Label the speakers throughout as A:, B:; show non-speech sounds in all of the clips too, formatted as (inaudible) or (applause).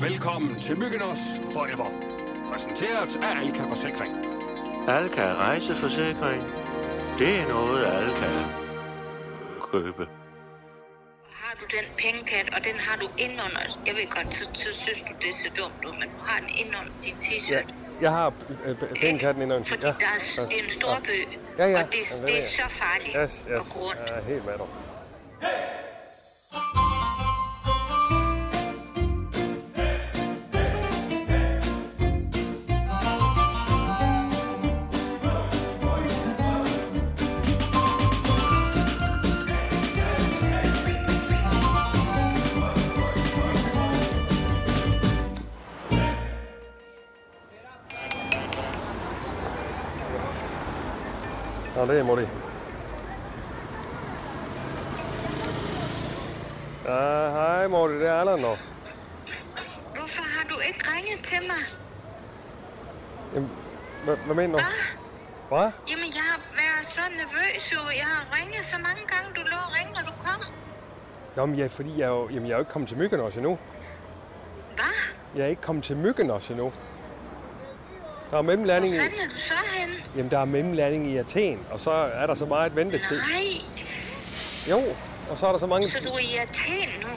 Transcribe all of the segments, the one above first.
A: Velkommen til Myggenos Forever. Præsenteret af Alka Forsikring.
B: Alka rejseforsikring. Det er noget, alle kan købe.
C: har du den pengekat, og den har du indenunder. Jeg ved godt, så, så synes du, det ser dumt ud, men du har den indenunder din t-shirt.
D: Ja, jeg har øh, øh, pengekatten i nøglen.
C: Fordi der er, det er en stor by,
D: Ja, ja.
C: og det,
D: Jamen, det
C: det er
D: ved jeg.
C: så farligt
D: Yes, yes.
C: at gå rundt.
D: Jeg er helt med dig. Nå, det er Mutti. Ja, hej Morty, det er Allan nå.
C: Hvorfor har du ikke ringet til mig?
D: Jamen, hvad, hvad mener du?
C: Hvad?
D: Hvad?
C: Jamen, jeg har været så nervøs jo. Jeg har ringet så mange gange, du lå og ringe, når du kom.
D: Jamen, ja, fordi jeg, er jo, jamen, jeg er jo ikke kommet til myggen også endnu.
C: Hvad?
D: Jeg er ikke kommet til myggen også endnu. Der
C: Hvor
D: er mellemlanding i,
C: fanden er du så henne?
D: jamen, der er mellemlanding i Athen, og så er der så meget ventetid.
C: Nej,
D: Jo, og så er der så mange...
C: så du er i Athen nu?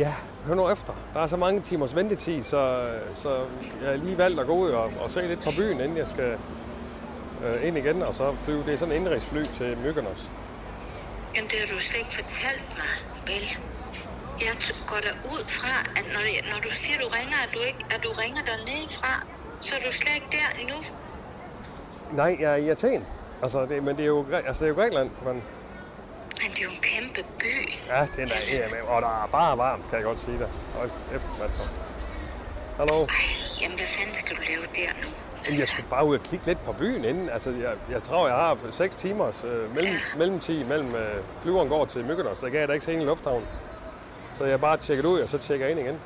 D: Ja, hør nu efter. Der er så mange timers ventetid, så, så jeg har lige valgt at gå ud og, og se lidt fra byen, inden jeg skal øh, ind igen, og så flyve. Det er sådan en indrigsfly til Mykonos.
C: Jamen, det har du slet ikke fortalt mig, vel? Jeg t- går da ud fra, at når, jeg- når du siger, du ringer, at du, ikke, at du ringer dernede fra, så er du slet ikke der endnu.
D: Nej, jeg er i Athen. Altså, det, men det er jo, Græ- altså, det er jo Grækenland. Men,
C: Men det er jo en kæmpe by.
D: ja, den er EMM, og der er bare varmt, kan jeg godt sige dig. Hold efter, mand. Hallo?
C: Ej, jamen, hvad fanden skal du lave der nu?
D: Jamen, jeg skulle bare ud og kigge lidt på byen inden. Altså, jeg, jeg tror, jeg har 6 timers øh, mellem, mellemtid mellem øh, flyveren går til Mykonos. Der kan jeg da ikke se en lufthavn. Så jeg bare tjekket ud, og så tjekker jeg ind igen.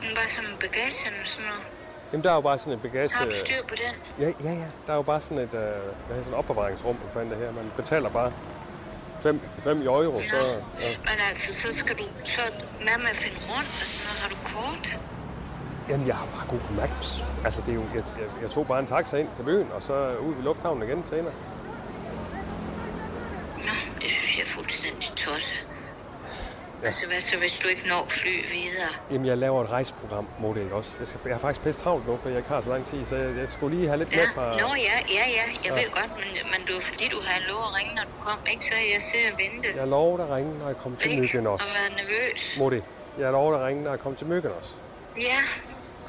C: Men bare som bagagen og sådan noget.
D: Jamen, der er jo bare sådan et bagage...
C: Har du
D: øh,
C: styr på den?
D: Ja, ja, ja. Der er jo bare sådan et, øh, hvad hedder sådan et opbevaringsrum, hvad fanden det her. Man betaler bare 5, 5 euro, så...
C: Nå.
D: Ja.
C: Men altså, så skal du... Så hvad med at finde rundt og sådan noget? Har du kort?
D: Jamen, jeg har bare Google Maps. Altså, det er jo, jeg, jeg, jeg tog bare en taxa ind til byen, og så ud i lufthavnen igen senere.
C: Nå, det synes jeg er fuldstændig tosset. Ja. Altså, hvad så, hvis du ikke når fly videre?
D: Jamen, jeg laver et rejseprogram, må det ikke også. Jeg, skal, jeg har faktisk pisse travlt nu, for jeg ikke har så lang tid, så jeg, jeg skulle lige have lidt
C: Ja,
D: med fra...
C: nå ja, ja, ja, jeg ved godt, men, men det var fordi, du havde lov at ringe, når du kom, ikke? Så jeg sidder og venter,
D: Jeg lover dig at ringe, når jeg kommer til
C: ikke?
D: Myggen
C: Og
D: også.
C: være nervøs.
D: Mutti, jeg lover dig at ringe, når jeg kommer til Myggen også.
C: Ja,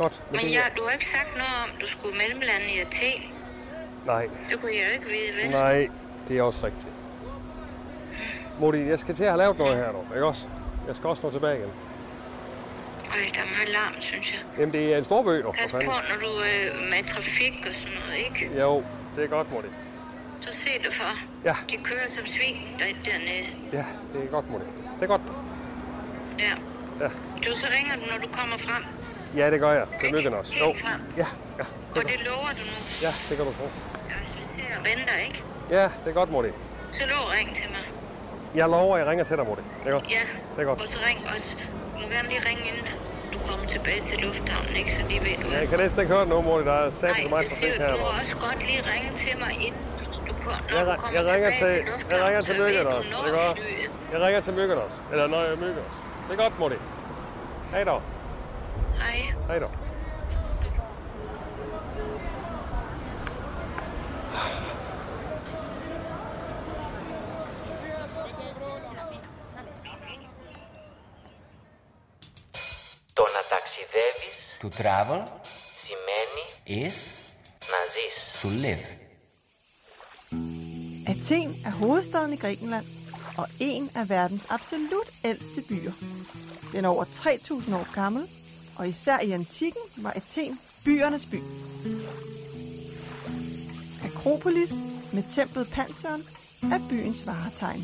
D: Godt. med
C: men
D: det
C: jeg,
D: her.
C: du har ikke sagt noget om, du skulle mellemlande i Athen.
D: Nej,
C: Det kunne jeg jo ikke vide, vel?
D: nej, det er også rigtigt. Mutti, jeg skal til at have lavet noget her nu, ikke også? Jeg skal også nå tilbage igen.
C: Øj, der er meget larm, synes jeg.
D: Jamen, det er en stor bøg, for
C: Pas på,
D: fanden.
C: når du er øh, med trafik og sådan noget, ikke?
D: Jo, det er godt, Mutti.
C: Så se dig for.
D: Ja.
C: De kører som svin der- dernede.
D: Ja, det er godt, Mutti. Det er godt.
C: Ja.
D: Ja.
C: Du så ringer du, når du kommer frem.
D: Ja, det gør jeg. Det lykken også. Jo.
C: Helt frem.
D: Ja, ja,
C: Og det lover du nu.
D: ja, det kan du tro.
C: Jeg sidder og venter, ikke?
D: Ja, det er godt, Mutti.
C: Så lov ring til mig.
D: Jeg lover, at jeg ringer til dig, Mutti. Det er godt.
C: Ja,
D: Det er godt.
C: og så ring også. Du må gerne lige ringe, inden du kommer tilbage til lufthavnen, ikke? Så de ved, du
D: Ja,
C: er...
D: jeg kan næsten ikke høre det nu, Morty. Der er sat så
C: Nej,
D: meget
C: det
D: trafik
C: siger
D: her.
C: du må
D: mand.
C: også godt lige ringe til mig, inden du, du kom, når
D: Jeg,
C: du
D: ri-
C: kommer
D: jeg ringer
C: tilbage
D: til,
C: til,
D: jeg
C: lufthavnen,
D: ringer
C: så
D: til
C: ved
D: Myggen
C: du,
D: også.
C: når
D: Det er godt.
C: flyet.
D: Jeg ringer til Myggen også. Eller når jeg er Myggen også. Det er godt, Morty. Hej dog.
C: Hej.
D: Hej dog.
E: Το να ταξιδεύεις
F: To travel
E: σημαίνει
F: is
E: να ζεις.
F: to live.
G: Athen er hovedstaden i Grækenland og en af verdens absolut ældste byer. Den er over 3.000 år gammel, og især i antikken var Athen byernes by. Akropolis med templet Pantheon er byens varetegn.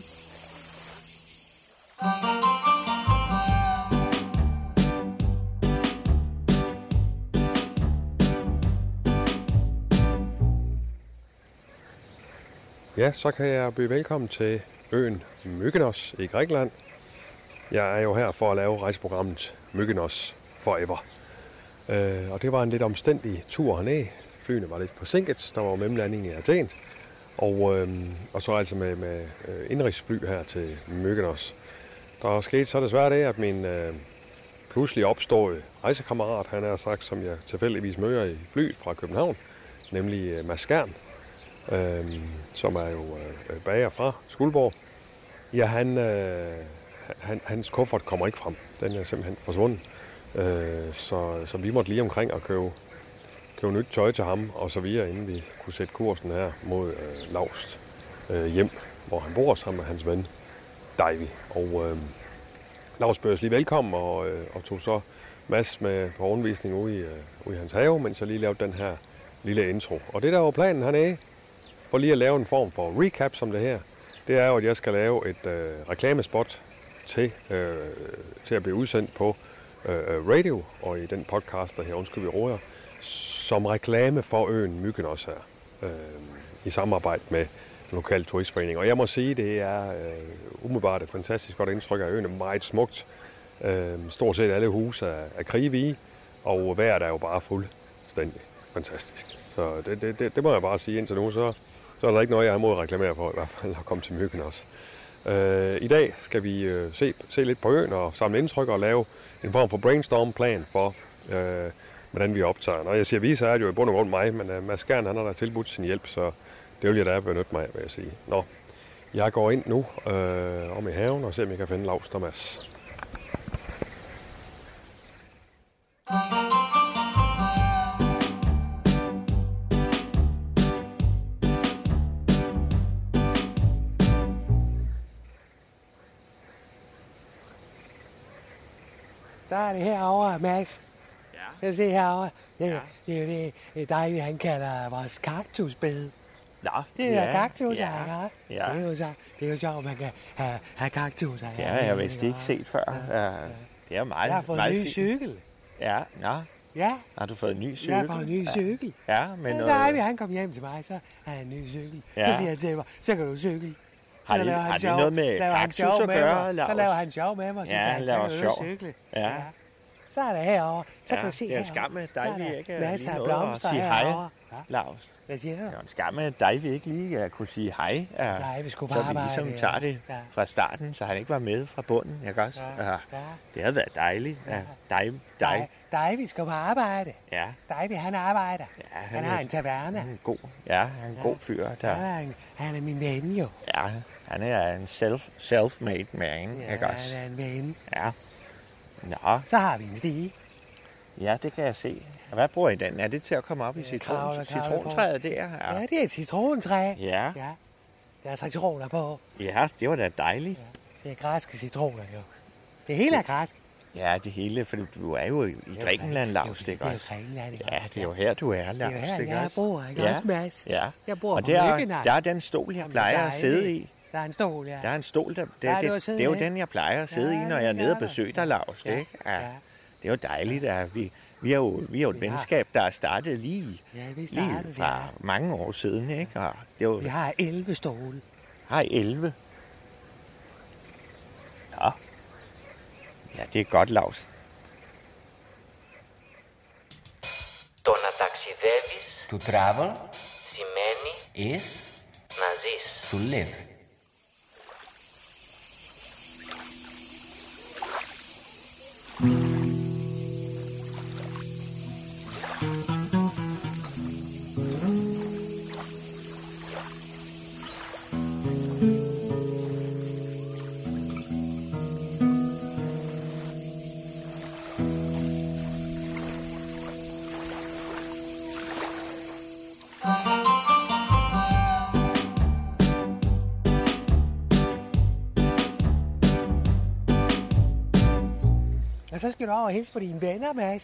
D: Ja, så kan jeg byde velkommen til øen Mykonos i Grækenland. Jeg er jo her for at lave rejseprogrammet Mykonos forever. Øh, og det var en lidt omstændig tur herned. Flyene var lidt forsinket, der var jo mellemlanding i Athen. Og, øh, og så altså med, med øh, indrigsfly her til Mykonos. Der skete så desværre det, at min øh, pludselig opståede rejsekammerat, han er sagt, som jeg tilfældigvis møder i flyet fra København, nemlig øh, Mads Skærn, øh, som er jo øh, bager fra Skuldborg. Ja, han, øh, han, hans kuffert kommer ikke frem. Den er simpelthen forsvundet. Øh, så, så vi måtte lige omkring og købe, købe nyt tøj til ham og så videre, inden vi kunne sætte kursen her mod øh, Lavst øh, hjem, hvor han bor sammen med hans ven, Davy. Og øh, Lavst bød os lige velkommen og, øh, og tog så Mads med på rundvisning ude i, øh, ude i hans have, mens jeg lige lavede den her lille intro. Og det der var planen hernede, for lige at lave en form for recap som det her, det er jo, at jeg skal lave et øh, reklamespot til, øh, til at blive udsendt på øh, radio og i den podcast, der her Undskyld vi råder, som reklame for øen Mykonos her, øh, i samarbejde med den lokale turistforening. Og jeg må sige, det er øh, umiddelbart et fantastisk godt indtryk af øen, er meget smukt. Øh, stort set alle huse er, er krige og vejret er jo bare fuldstændig fantastisk. Så det, det, det, det må jeg bare sige indtil nu, så, så er der ikke noget, jeg har imod at reklamere for, i hvert fald at komme til Mykonos. Øh, I dag skal vi øh, se, se lidt på øen og samle indtryk og lave en form for brainstorm-plan for, øh, hvordan vi optager. Når jeg siger vi, så er det jo i bund og grund mig, men øh, Mads Kern, han har da tilbudt sin hjælp, så det vil jeg da benytte mig af, vil jeg sige. Nå, jeg går ind nu øh, om i haven og ser, om jeg kan finde Lavs og Mads.
F: Der er det herovre, Max. Ja. Jeg se herovre. Det, ja. det er jo det, det dejlige, han kalder vores kaktusbed.
H: Nå,
F: Det er ja, kaktuser,
H: ja,
F: ikke? også?
H: ja.
F: Det er jo så, det er jo sjovt, man kan have, have kaktuser.
H: Det har jeg vist ikke set før. Ja. Det er meget,
F: Jeg har fået en
H: meget
F: ny
H: fint.
F: cykel.
H: Ja, nå.
F: Ja,
H: Har du fået en ny cykel?
F: jeg har fået en ny cykel.
H: Ja, men
F: Men
H: noget...
F: da Ivy, han kom hjem til mig, så havde han en ny cykel. Så
H: Ja.
F: siger jeg til mig, så kan du cykle.
H: Har
F: Så
H: det-
F: laver han
H: har det
F: sjov-
H: noget med
F: laver han
H: kaktus
F: sjov
H: at
F: med
H: gøre,
F: mig. Så
H: Lars?
F: laver han sjov med mig, så
H: Ja,
F: siger
H: han laver
F: så kan
H: sjov.
F: du cykle.
H: Ja.
F: Så er der herovre.
H: Ja,
F: Så kan du se
H: det er en skam, at
F: at
H: dig, vi ikke er lige
F: masser af
H: nået at
F: blomster
H: sige hej.
F: herovre. Ja.
H: Lars,
F: Hvad siger du?
H: det er jo en skam, at dig vi ikke lige uh, kunne sige hej. Uh,
F: Nej, vi skulle bare
H: Så vi ligesom
F: arbejde,
H: tager
F: ja.
H: det
F: Ja.
H: fra starten, så han ikke var med fra bunden, ikke også?
F: Ja,
H: Ja.
F: ja.
H: Det havde været dejligt. Ja. Dig, dig.
F: Dig. Dig, vi skal på arbejde.
H: Ja.
F: Dig, vi, han arbejder. Ja,
H: han
F: han, han
H: er-
F: har en taverne.
H: Han er en god, ja, han er en god fyr,
F: Ja.
H: der...
F: Han, er en, han er min ven jo.
H: Ja, han er en self, self-made man,
F: Ja,
H: ikke også?
F: han er en ven.
H: Ja. Nå,
F: Så har vi en stige.
H: ja, det kan jeg se. Og hvad bruger I den? Er det til at komme op i citron,
F: kravler, kravler på.
H: citrontræet der?
F: Ja,
H: Ja.
F: det er et citrontræ.
H: Ja.
F: ja. Der er citroner på.
H: ja, det var da dejligt.
F: Det er græske citroner jo. Det hele er græsk.
H: Ja, det hele, for du er jo i i Grækenland, Lars, ikke også?
F: Det er jo Grækenland, ikke
H: Ja,
F: også?
H: det er jo her, du er,
F: Det er jo her,
H: Lars, ikke
F: jeg
H: også?
F: bor, ikke
H: Ja.
F: også, Mads?
H: Ja,
F: Jeg bor
H: og
F: på
H: der, er-
F: Mykkenej.
H: der er den stol, jeg
F: Jamen,
H: plejer at
F: dejligt.
H: sidde i.
F: Der er en stol, ja.
H: Der er en stol, der, det,
F: Der er du at
H: det,
F: sidde
H: det er jo
F: i.
H: den, jeg plejer at sidde
F: Ja,
H: i, når jeg er
F: det
H: nede og
F: gør du.
H: besøger dig, Lars,
F: Ja,
H: ikke? Ja.
F: ja.
H: Det er jo dejligt, at vi, vi er jo, vi er jo et
F: Vi har-
H: venskab, der er startet lige,
F: Ja, vi
H: lige
F: startede,
H: fra mange år siden, ikke?
F: Ah,
H: Og det er jo,
F: Vi har 11 stole.
H: Har I 11? Nå. Ja, det er godt, Lars.
E: Το να ταξιδεύεις
I: To travel
E: σημαίνει
I: is
E: να ζεις.
I: to live.
F: Og så skal du over og hilse på dine venner, Mads.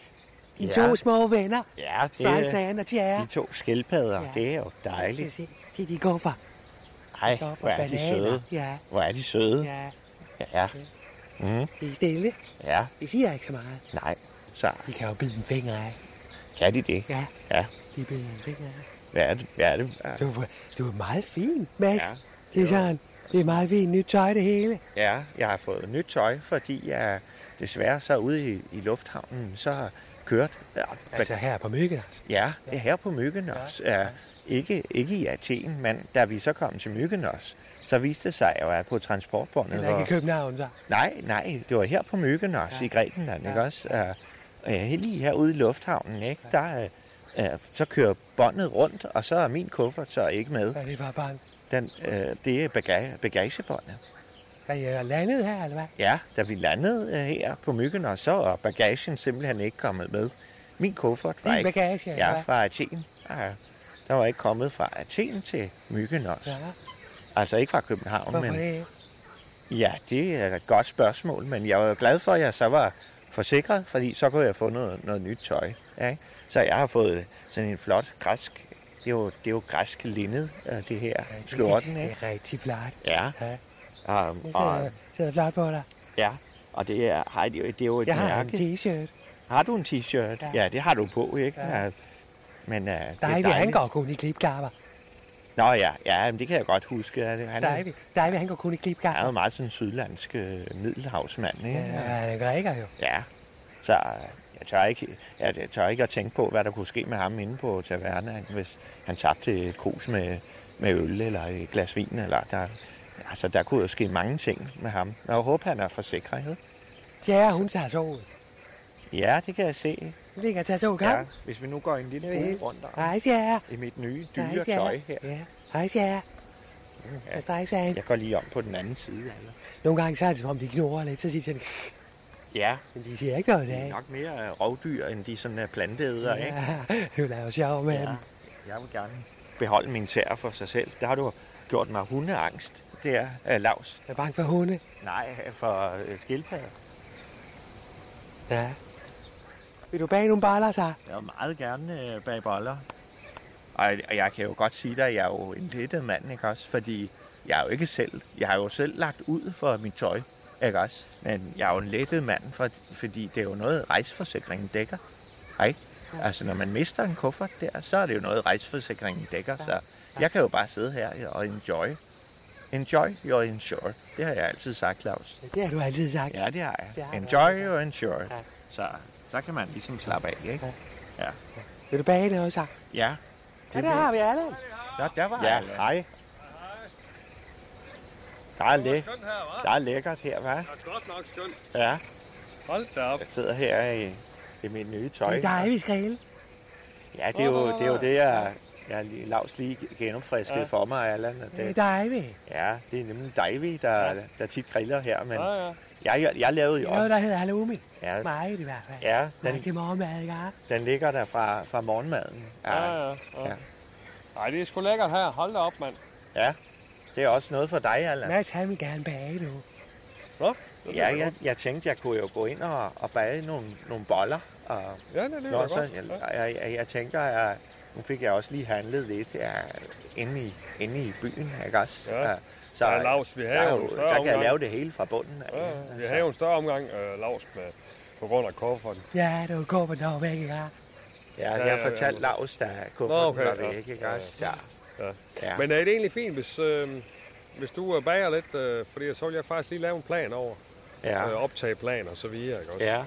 F: Dine
H: Ja.
F: ja. to små venner.
H: Ja, det er
F: Svejsand og Tjære.
H: de to skildpadder. Ja.
F: Ja.
H: Det er jo dejligt.
F: Se, se de guffer.
H: Ej,
F: Stop og
H: hvor er de
F: bananer.
H: søde.
F: Ja.
H: Hvor er de søde.
F: Ja,
H: Ja,
F: de er stille.
H: ja,
F: De siger ikke så meget.
H: nej. Så
F: De kan jo bide en finger af.
H: kan de det.
F: Ja,
H: Ja,
F: de bider en finger af.
H: hvad er det? Hvad er det? Ja.
F: Du, du er meget fin, Mads.
H: Ja,
F: Ja, det er sådan. Det er meget fint. Nyt tøj, det hele.
H: Ja, jeg har fået nyt tøj, fordi jeg, desværre så ude i, i lufthavnen, så har kørt... Ja,
F: Altså her på Mygge.
H: ja, her på Mykonos. Ja. Ikke, ikke i Athen, men da vi så kom til Mykonos, så viste det sig jo, at på transportbåndet...
F: Eller ikke i København, så.
H: Nej, nej, det var her på Mykonos ja. i Grækenland, ja. ikke også? Uh, lige herude i lufthavnen, ikke? Ja. Der, uh, så kører båndet rundt, og så er min kuffert så ikke med.
F: Ja, det var bare...
H: Den, uh, det er bagage, bagagebåndet.
F: Er jeg landet her, eller hvad?
H: Ja, da vi landede øh, her på Mykonos, så er bagagen simpelthen ikke kommet med. Min kuffert var
F: Din
H: ikke...
F: bagage, eller
H: Ja,
F: hvad?
H: fra Athen. Ja, der var ikke kommet fra Athen til Mykonos.
F: Ja,
H: Ja. Altså ikke fra København,
F: hvorfor
H: men...
F: det ikke?
H: Ja, det er et godt spørgsmål, men jeg var jo glad for, at jeg så var forsikret, fordi så kunne jeg få noget, noget nyt tøj. Ja, ikke? så jeg har fået sådan en flot græsk... Det er jo, det er jo græsk lindet, øh, det her skjorten,
F: Det
H: ikke?
F: er rigtig flot.
H: Ja,
F: Ja,
H: og,
F: det
H: og,
F: sidder- sidder flot på dig.
H: ja. Um, og det er, har de jo- det er jo et
F: Jeg har en
H: mærke.
F: t-shirt.
H: Har du en t-shirt? Ja. ja, det har du på, ikke? Ja. Men uh, det er
F: Divey, han går kun i klipklapper.
H: Nå ja, ja men det kan jeg godt huske. Han, han er,
F: Divey, Divey, han går kun i
H: er
F: klipklapper.
H: jo meget sådan en sydlandsk øh, middelhavsmand, ikke?
F: Ja, han er græker jo.
H: ja. Så øh, jeg tør, ikke, jeg, jeg tør ikke at tænke på, hvad der kunne ske med ham inde på tavernaen, hvis han tabte et krus med, med øl eller et glas vin. Eller der, altså, der kunne jo ske mange ting med ham. Jeg håber, han er forsikret.
F: Ja, hun tager solen.
H: Ja, det kan jeg se.
F: Hun ligger og tager solen,
H: Ja,
F: kom.
H: hvis vi nu går en lille hul rundt om
F: Hej, Sjære.
H: i mit nye
F: Hej,
H: dyre
F: Sjære.
H: tøj her.
F: Ja, hej, Sjære.
H: ja.
F: Og streg, sagde han.
H: Jeg går lige om på den anden side. Altså.
F: Nogle gange så er det som om, de knurrer lidt, så siger de sådan,
H: Ja,
F: men de siger ikke noget i
H: de er
F: dag.
H: nok mere øh, rovdyr, end de sådan er planteædere, ja. ikke?
F: Ja, (laughs) hun er jo sjov med dem.
H: Jeg vil gerne beholde min tær for sig selv. Der har du gjort mig hundeangst, det er øh, Lars.
F: Jeg er bange for hunde.
H: Nej, for øh, skildpadder.
F: Ja. Vil du bage nogle baller, så?
H: Jeg vil meget gerne øh, bag boller. Og, og jeg kan jo godt sige dig, at jeg er jo en lettet mand, ikke også? Fordi jeg er jo ikke selv... Jeg har jo selv lagt ud for mit tøj, ikke også? Men jeg er jo en lettet mand, for, fordi det er jo noget, rejseforsikringen dækker. Ikke? Altså, når man mister en kuffert der, så er det jo noget, rejseforsikringen dækker. Så jeg kan jo bare sidde her og enjoy. Enjoy your insure. Det har jeg altid sagt, Claus.
F: Det har du altid sagt.
H: Ja, det har
F: Det har
H: jeg.
F: du
H: Enjoy your insure.
F: Ja.
H: Så, så kan man ligesom slappe af, ikke?
F: Vil du bage noget, så?
H: Ja.
F: Ja, der har vi alle.
H: Nå, der var ja, hej. Der er, læ-
D: Skønt her, hva'?
H: der er lækkert her, hva'?
D: Ja, godt nok skønt.
H: Ja,
D: Hold da op.
H: jeg sidder her i, i mit nye tøj.
F: Det er dig, vi skal
H: Ja, det er jo det, er jo det jeg, jeg lige- Lars lige genopfriskede ja. for mig, Allan. og
F: Det er
H: Det,
F: dig, vi. Det
H: ja, det er nemlig Davy, der, der tit griller her, men
D: Ja, ja.
H: jeg, jeg, jeg lavede jo
F: er noget,
H: om.
F: der hedder halloumi.
H: Ja.
F: Meget i hvert fald.
H: Ja,
F: Nej,
H: den,
F: det er morgenmad, ikke? hva'?
H: den ligger der fra, fra morgenmaden. Ja,
D: Ja, ja,
H: Ja.
D: ja. Ej, det er sgu lækkert her. Hold da op, mand.
H: ja, det er også noget for dig, Allan.
F: Mads, han vil gerne bage nu.
D: Nå, det lyder
H: Ja, jeg,
D: godt.
H: jeg tænkte, jeg kunne jo gå ind og, og bage nogle, nogle boller og
D: Ja, det lyder
H: Nå, så,
D: godt.
H: jeg, jeg, jeg, jeg tænker, at nu fik jeg også lige handlet lidt ja, inde, i, inde i byen, ikke også?
D: Ja.
H: så
D: Ja, Lars, vi har
H: der, er
D: jo
H: jo-
D: en større
H: der kan jeg
D: omgang.
H: lave det hele fra bunden af.
D: Ja, ja. vi havde jo en større omgang, øh, Lars, med, på grund af kufferten.
F: Ja, det var kåbet der var væk, ikke? hva'?
H: Ja,
D: ja,
H: jeg
D: ja,
H: fortalte
D: ja.
H: Lars, der
D: Nå,
H: kufferten
D: okay,
H: var
D: ja.
H: væk, ikke
D: Ja,
H: også? Ja.
D: Ja.
H: Ja.
D: Men er det egentlig fint, hvis, øh, hvis du øh, bager lidt, øh, fordi så vil jeg faktisk lige lave en plan over,
H: Ja.
D: øh, optage plan og så videre, ikke også?
H: Ja.
D: Øh,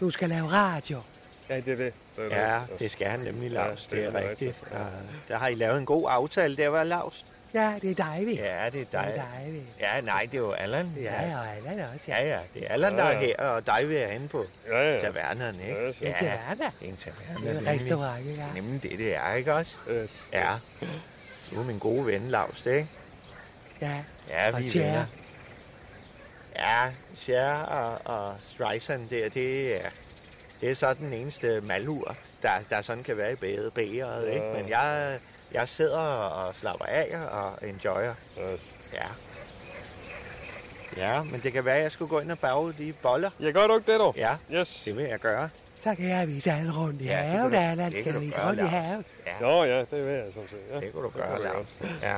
F: Du skal lave radio.
D: ja, det er det. det, er
H: ja,
D: det.
H: det skal han nemlig, Lars.
D: Ja,
H: det er
D: det er
H: rigtigt. Ja. Der har I lavet en god aftale, der var Lars.
F: Ja, det er dig, vi.
H: Ja, det er
F: det er
H: dig.
F: dig, vi.
H: Ja, nej, det er jo Allan.
F: Ja, ja, og Allan også.
H: Ja, ja, det er Allan, der er
D: Ja,
H: her, og dig vil jeg inde på
D: Ja, ja.
H: tavernerne,
D: Ja,
H: ikke?
D: det er
F: Ja, det er der.
H: det er en
F: Det er
H: taverne,
F: en
H: nemlig.
F: restaurant, ikke? hva'?
H: Nemlig det, det er, ikke også?
D: Øh,
H: Ja. Du er min gode ven, Lars, ikke?
F: Ja.
H: Ja,
F: Og
H: vi er
F: Cher.
H: venner. Ja, Cher og, og Streisand der, det er, det er så den eneste malur, der, der sådan kan være i bæret, bæret ikke? Men jeg, jeg sidder og slapper af og enjoyer.
D: øh.
H: Ja. Ja, men det kan være, at jeg skulle gå ind og bage de boller.
D: Jeg gør du ikke det, dog?
H: Ja,
D: Yes.
H: det vil jeg gøre.
F: Så kan jeg vise alle rundt i
H: Ja, det kan
F: haven,
H: du-
F: Allan.
H: det kan
F: Skal
H: du
F: vi
H: gøre,
F: rundt i
H: Lars.
F: haven?
D: Nå ja, det vil jeg sådan set. Ja.
H: Det kunne du gøre,
D: kunne jeg
H: Lars. Ja.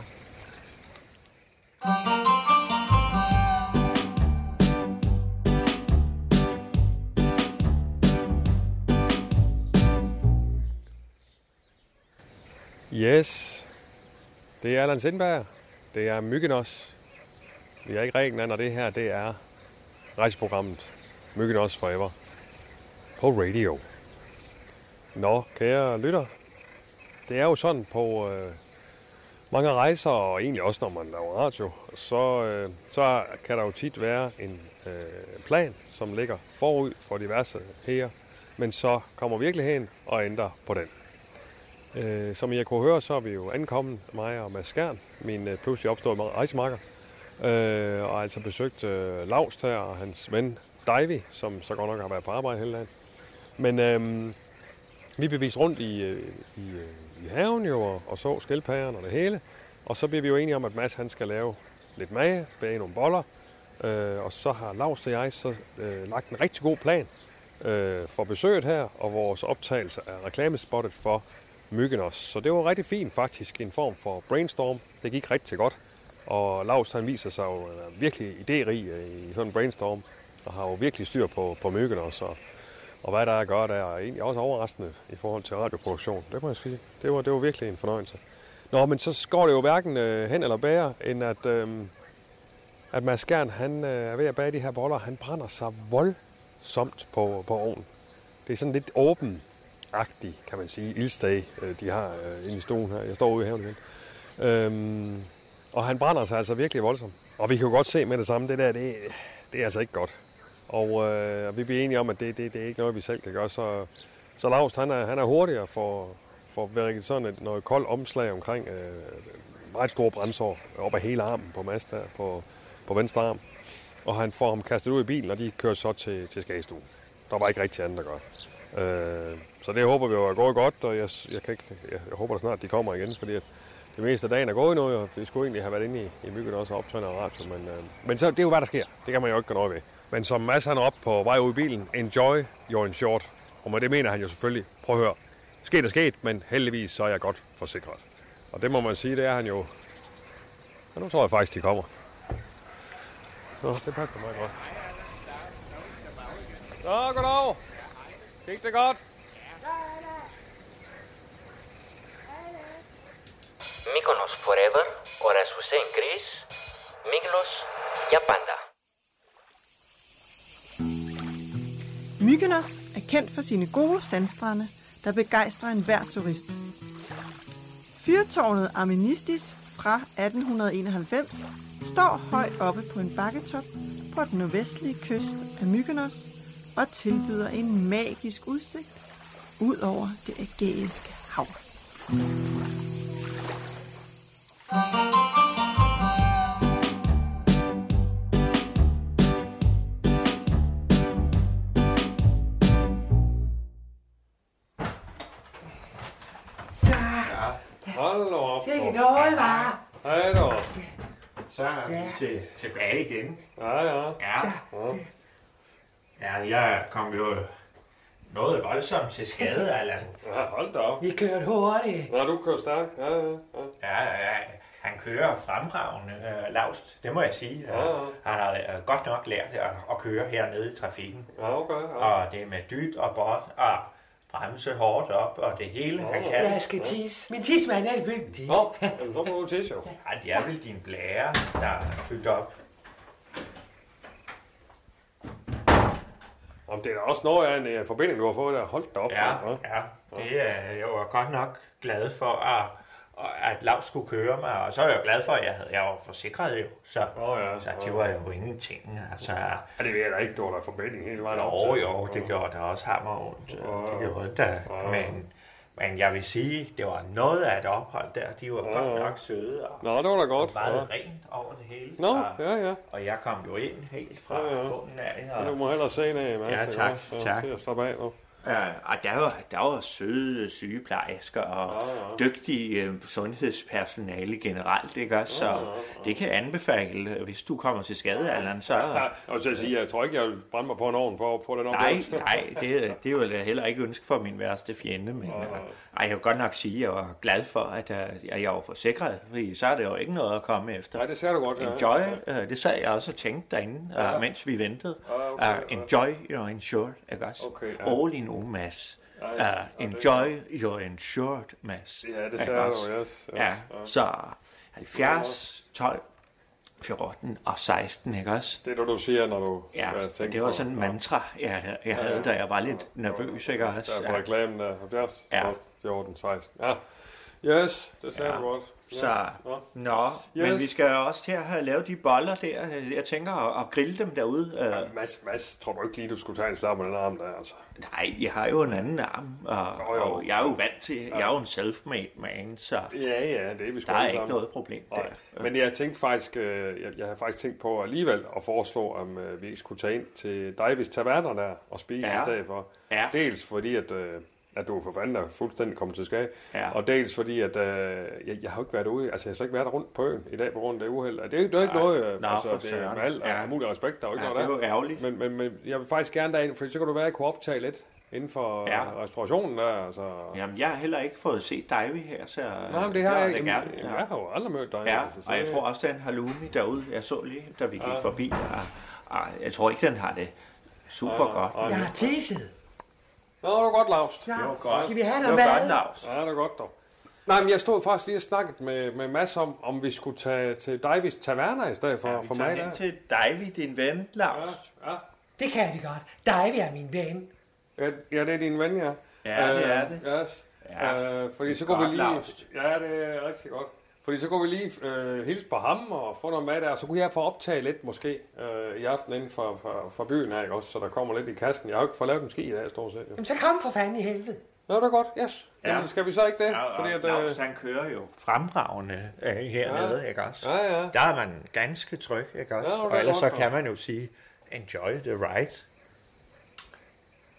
D: Yes. Det er Allan Sindberg. Det er Mykonos. Vi er ikke Grækenland, og det her, det er rejseprogrammet. Myggen også forever. På radio. Nå, kære lytter. Det er jo sådan på øh, mange rejser, og egentlig også når man laver radio, så, øh, så kan der jo tit være en øh, plan, som ligger forud for diverse her. Men så kommer virkeligheden og ændrer på den. Øh, som I kunne høre, så er vi jo ankommet, mig og Mads Skjern, min øh, pludselig opståede rejsemarker, øh, og har altså besøgt øh, Lars her og hans ven Davy, som så godt nok har været på arbejde hele dagen. Men øh, vi blev vist rundt i, øh, i, øh, i haven jo, og, og så skildpadderne og det hele, og så bliver vi jo enige om, at Mads han skal lave lidt mage, bage nogle boller, øh, og så har Lars og jeg så øh, lagt en rigtig god plan øh, for besøget her, og vores optagelse af reklamespottet for myggen også. Så det var rigtig fint faktisk, en form for brainstorm. Det gik rigtig godt. Og Lars han viser sig jo øh, virkelig idérig øh, i sådan en brainstorm, og har jo virkelig styr på, på myggen også. Og, og hvad der er at gøre, der er egentlig også overraskende i forhold til radioproduktion. Det må jeg sige. Det var, det var virkelig en fornøjelse. Nå, men så går det jo hverken øh, hen eller bære, end at, øh, at Mads Skjern, han øh, er ved at bage de her boller, han brænder sig voldsomt på, på ovnen. Det er sådan lidt åben agtig kan man sige, ildstage, øh, de har øh, inde i stuen her. Jeg står ude i haven igen. Øhm, og han brænder sig altså virkelig voldsomt. Og vi kan jo godt se med det samme, det der, det, det er altså ikke godt. Og øh, og vi bliver enige om, at det, det, det er ikke noget, vi selv kan gøre. Så, så Lars, han er, han er hurtigere for, for virkelig sådan et, noget koldt omslag omkring øh, meget store brændsår op ad hele armen på Mads der, på, på venstre arm. Og han får ham kastet ud i bilen, og de kører så til, til skagestuen. Der var ikke rigtig andet at gøre. Øh, så det håber vi jo er gået godt, og jeg, jeg, kan ikke, jeg, jeg håber da snart, de kommer igen, fordi at det meste af dagen er gået nu, og vi skulle egentlig have været inde i, i myggen også og optræde noget radio, men, øh, men så, det er jo, hvad der sker. Det kan man jo ikke gøre noget ved. Men som Mads han er op på vej ud i bilen, enjoy your in short. Og med det mener han jo selvfølgelig, prøv at høre, sket er sket, men heldigvis så er jeg godt forsikret. Og det må man sige, det er han jo. Og nu tror jeg faktisk, de kommer. Nå, det passer meget godt. Nå, goddag. Gik det godt?
E: Mykonos Forever, Oraz Hussein Chris, Miglos για πάντα.
G: Mykonos er kendt for sine gode sandstrande, der begejstrer enhver turist. Fyrtårnet Arministis fra 1891 står højt oppe på en bakketop på den nordvestlige kyst af Mykonos og tilbyder en magisk udsigt ud over det ægæiske hav.
D: Hold nu op.
F: Det er ikke noget, var.
D: Hej da.
H: Så er vi til, tilbage igen.
D: Ja, ja.
H: Ja. Ja, jeg kom jo noget voldsomt til
D: (laughs)
H: skade, Allan.
D: Ja, hold da op.
F: Vi kørte hurtigt.
D: Nå, du kører stærkt. Ja, ja, ja.
H: Ja, ja, han kører fremragende, øh, Laust, det må jeg sige.
D: Ja, ja.
H: Han har øh, godt nok lært at, at køre hernede i trafikken.
D: Ja, okay. Ja.
H: Og det er med dyt og bånd og bremse hårdt op og det hele, han kan.
F: Jeg skal tisse. Min tissemand er fyldt med tis.
D: Nå, jamen, så må du tisse jo.
H: Ej, det er vel din blære, der er fyldt op.
D: Jamen, det er da også noget af en øh, forbinding, du har fået der. Hold da op.
H: Ja,
D: mand, hva'?
H: ja. Det er jeg var godt nok glad for, at, at Lav skulle køre mig. Og så er jeg jo glad for, at jeg, havde, jeg var forsikret jo. Så,
D: Åh, ja.
H: så det var jo ingenting. Altså,
D: Ja, det ved jeg da ikke, du har da forbinding hele vejen op.
H: jo,
D: til.
H: jo, det gjorde der også hammer ondt. Det gjorde det. Men, men jeg vil sige, det var noget af et ophold der. De var godt nok søde og
D: Nå, det var da godt.
H: meget
D: Ja.
H: rent over det hele.
D: Nå,
H: Og-
D: ja, ja.
H: Og jeg kom jo ind helt fra
D: Ja, ja.
H: bunden af.
D: Du
H: Og,
D: må hellere se en af, Mads.
H: Ja,
D: ikke
H: tak,
D: også? Så
H: tak.
D: Se at slappe af nu.
H: ja, og der var, der var søde sygeplejersker og ja, ja. dygtige øh, sundhedspersonale generelt, ikke også? Så det kan jeg anbefale, hvis du kommer til skade, Allan, så...
D: Ja, og så at sige, jeg tror ikke, jeg vil brænde mig på en ovn for at få den op.
H: Nej, nej, det, det vil jeg heller ikke ønske for min værste fjende, men øh, ej, jeg vil godt nok sige, at jeg var glad for, at øh, jeg, jeg var forsikret, fordi så er det jo ikke noget at komme efter.
D: Nej, det ser du godt. ja.
H: Enjoy, øh, det sad jeg også og tænkte derinde, øh, mens vi ventede.
D: Ah, okay,
H: Øh, enjoy your insured, ikke også?
D: Okay, ja.
H: All in all, Mads.
D: ja,
H: Øh,
D: ja, det-
H: enjoy your insured, Mads.
D: Ja, det
H: Ikke
D: sagde
H: også?
D: du, yes, yes,
H: Ja, så 70, 12, 14 og 16, ikke også?
D: Det er det, du siger, når du
H: Ja,
D: øh,
H: så det var sådan en mantra, jeg, jeg havde, da jeg var lidt nervøs, ikke også?
D: Der er på
H: Ja.
D: reklamen der, 70,
H: Ja.
D: 12, 14, 16. Ja, yes, det sagde
H: Ja.
D: du godt. Yes.
H: Så,
D: Nå.
H: nå,
D: Yes.
H: men vi skal jo også til at have lavet de boller der. Jeg tænker at, at grille dem derude. Øh,
D: Mads, Mads, tror du ikke lige, du skulle tage en slag med den arm der, altså?
H: Nej, jeg har jo en anden arm, og,
D: Jo, jo.
H: og jeg er jo vant til, jeg er jo en self-made man, så
D: Ja, ja, det er vi sgu
H: der er
D: alle
H: ikke
D: sammen.
H: noget problem der.
D: Nej. Men jeg tænkte faktisk, øh, jeg, jeg havde faktisk tænkt på alligevel at foreslå, om øh, vi ikke skulle tage ind til dig, hvis taverner der, og spise
H: Ja.
D: i stedet for.
H: Ja.
D: Dels fordi, at, øh, at du for fanden er fuldstændig kommet til skade,
H: Ja.
D: og dels fordi, at øh, jeg, jeg har jo ikke været ude, altså jeg har så ikke været rundt på øen i dag på grund af det uheld. Og Det er jo det er jo ikke
H: Nej.
D: noget, øh,
H: Nå,
D: altså
H: for
D: det er
H: søren.
D: med al ja.
H: Ja.
D: mulig respekt, der er jo ikke
H: Ja,
D: noget
H: det er
D: der.
H: jo ærgerligt.
D: Men, men, men jeg vil faktisk gerne derind, for så kan du være, at jeg kunne optage lidt inden for
H: Ja.
D: ja. restaurationen der, altså.
H: Jamen, jeg har heller ikke fået set Divey her, så
D: Nej, men det
H: var
D: har jeg,
H: da
D: jamen,
H: gerne.
D: jamen, jeg har jo aldrig mødt dig.
H: Ja,
D: altså, så
H: og jeg
D: det-
H: tror også, den har Lumi derude. Jeg så lige, da vi gik forbi, og, og jeg tror ikke, den har det super godt.
F: Jeg har tisset.
D: Nå, det var godt, Lars.
F: Ja,
H: godt.
F: skal vi have
H: Det
F: noget
H: var
F: mad?
H: godt, Lars.
D: Ja, det er godt dog. Nej, men jeg stod faktisk lige og snakket med, med Mads om, om vi skulle tage til Davis Taverna i stedet for, ja,
H: Vi
D: for
H: tager
D: mig.
H: hen
D: Der.
H: til Divey, din ven, Lars.
D: Ja.
F: Det kan vi godt. Dig, vi er min ven.
D: Ja, ja, det er din ven, ja.
H: Ja, det
D: Øh,
H: er det.
D: Yes.
H: Ja.
D: Ja. Øh, fordi så
H: Godt,
D: går vi lige...
H: Laust.
D: Ja, det er rigtig godt. Fordi så går vi lige øh, hilse på ham og få noget med der, og så kunne jeg få optaget lidt måske øh, i aften inden for, for, for byen her, ikke også? Så der kommer lidt i kassen. Jeg har jo ikke fået lavet en ski i dag, stort set. jo.
F: Jamen, så kom for fanden i helvede.
D: Nå, det er godt, yes.
H: Ja.
D: Ja. Jamen, skal vi så ikke det?
H: Ja, og
D: fordi at,
H: Lars,
D: øh,
H: han kører jo fremragende øh, hernede, ikke også?
D: Ja, ja.
H: Der er man ganske tryg, ikke også?
D: Ja, det er
H: og ellers så
D: godt,
H: kan man jo sige, enjoy the ride.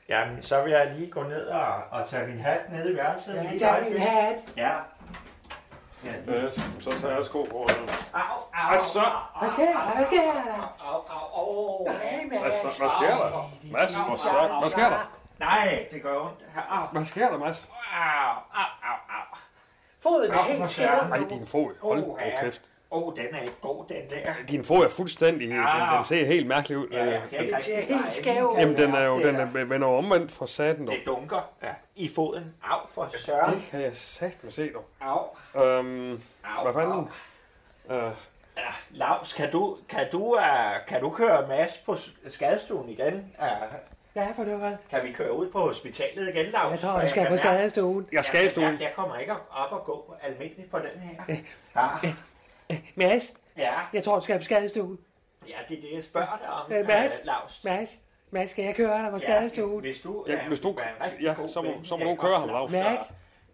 H: Jamen, så vil jeg lige gå ned og, og tage min hat ned i værelset.
F: Ja,
H: Lige
F: der er
H: dig,
F: min
H: Finn.
F: hat.
H: Ja. ja. lige-
D: yes, så tager jeg sko på. Ja.
H: Au, au,
D: Hvad så?
F: Hvad sker der? Hvad sker der?
H: au, au, au.
F: Hey,
D: Hvad,
F: Mads.
D: Altså, hvad sker der? Mads, hvor så? Hvad sker der?
H: Nej, det gør ondt. Au,
D: Hvad sker der, Mads?
H: au, au, au, au.
F: Foden er
H: Nå,
F: helt
H: for
F: skæv.
H: søren.
D: Ej, din fod. Hold nu
H: Åh, ja.
D: kæft.
H: Åh, oh, den er ikke god, den der.
D: Din fod er fuldstændig... Den, den ser helt mærkelig ud.
H: Ja, jeg
D: Øh,
H: kan ikke
F: Det er
H: rigtig
F: helt
H: dreje
F: skæv.
H: den.
D: Jamen, den er jo
H: Ja,
D: den er, den er jo omvendt for satan, dog.
H: Det dunker ja. i foden. Au, for søren.
D: Det kan jeg satme se, dog.
H: Au,
D: Øhm,
H: au,
D: hvad fanden? Øh,
H: Ja, Lars, kan du, kan, du, uh, kan du køre Mads på s- skadestuen igen? Uh,
F: Ja, for det var.
H: kan vi køre ud på hospitalet igen, Lars?
F: Jeg tror, jeg skal på skadestuen.
D: jeg skal i
H: Jeg,
D: stuen.
H: jeg, jeg kommer ikke op og gå almindeligt på den her. Ah,
F: Mads,
H: ja,
F: jeg tror, du skal på skadestuen.
H: ja, det er det, jeg spørger dig om,
F: Øh, Mads,
H: øh, Lars.
F: Mads, Mads, skal jeg køre dig på skadestuen?
H: hvis du, øh,
D: Ja, hvis du-
H: er en rigtig
D: ja,
H: god
D: så må-
H: ven,
D: så må
H: ja,
D: du køre ham,
H: Lars.
D: Lars.
F: Mads,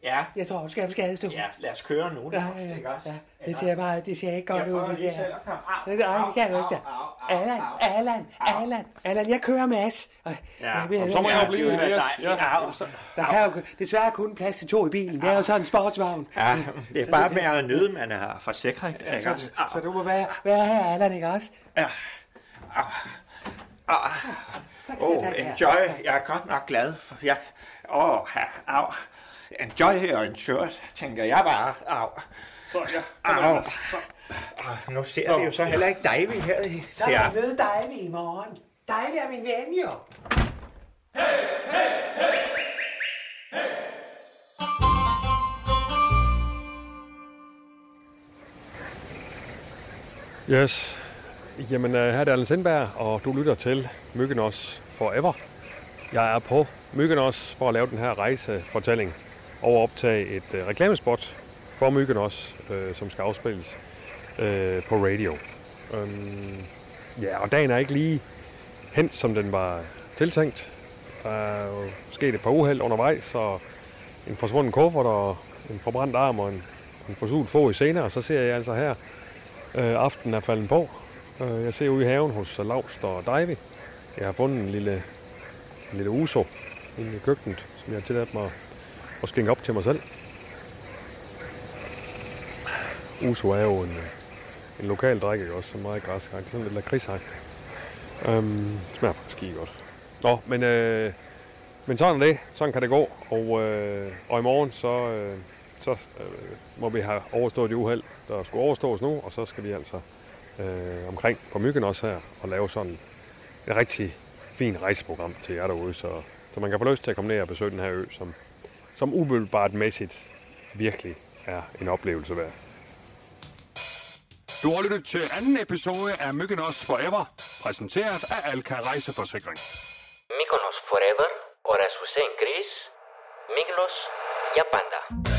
H: Ja,
F: jeg tror, du skal på skadestuen.
H: ja, lad os køre nu,
F: Ja,
H: Lars.
F: ja,
H: ikke også?
F: ja. Det ser meget, det ser ikke
H: Jeg
F: godt ud,
H: prøver
F: det
H: lige selv
F: der.
H: at komme. Au,
F: Nej, det kan du
H: au,
F: ikke.
H: au, au, au,
F: Allan,
H: au.
F: Allan, Allan, Allan, jeg kører Mads. Og- jeg ved-
D: Jamen, så må jeg jo blive
H: det
D: med
H: er
D: Elias.
H: dejligt.
D: Ja.
H: Au.
F: Der kan jo desværre kun plads til to i bilen. Det er jo sådan en sportsvogn.
H: Ja, det er bare med at nyde, man har forsikring. ikke også? Au.
F: Så du må være, være her, Allan, ikke også?
H: Ah,
F: Så kan
H: oh,
F: jeg tage her.
H: enjoy. Jeg er godt nok glad. For jeg... Åh, oh, au. Enjoy og enjoy, tænker jeg bare. Au.
D: Så, ja.
H: Au. Ah, Nu ser vi jo så heller ikke dig, vi her i
F: Så er
H: Ja.
F: jeg ved dig i morgen. Dig er min ven, jo.
D: Yes. Jamen, øh, her er det Allan Sindberg, og du lytter til Myggenos Forever. Jeg er på Myggenos for at lave den her rejsefortælling og optage et øh, reklamespot for Myggenos, øh, som skal afspilles øh, på radio. Øhm, ja, og dagen er ikke lige hen, som den var tiltænkt. Der er jo sket et par uheld undervejs, og en forsvunden kuffert, og en forbrændt arm, og en, en forsult fod i senere, og så ser jeg altså her Øh, aftenen er falden på. Øh, jeg ser ude i haven hos Lavst og Divey. Jeg har fundet en lille, en lille uso inde i køkkenet, som jeg har tilladt mig at skænke op til mig selv. Uso er jo en, øh, en lokal drik, ikke også? Som meget græskagt. Sådan lidt lakridsagt. Øhm, smager faktisk skide godt. Nå, men, øh, men sådan er det. Sådan kan det gå. Og, øh, og i morgen, så, øh, så øh, må vi have overstået det uheld, der skulle overstås nu. Og så skal vi altså øh, omkring på myggen også her og lave sådan et rigtig fint rejseprogram til jer derude. Så, så man kan få lyst til at komme ned og besøge den her ø, som, som umiddelbart mæssigt virkelig er en oplevelse værd.
A: Du har lyttet til anden episode af Myggen Os Forever, præsenteret af Alka Rejseforsikring.
E: Mykonos Forever, Oraz Hussein Chris, Miglos Yapanda.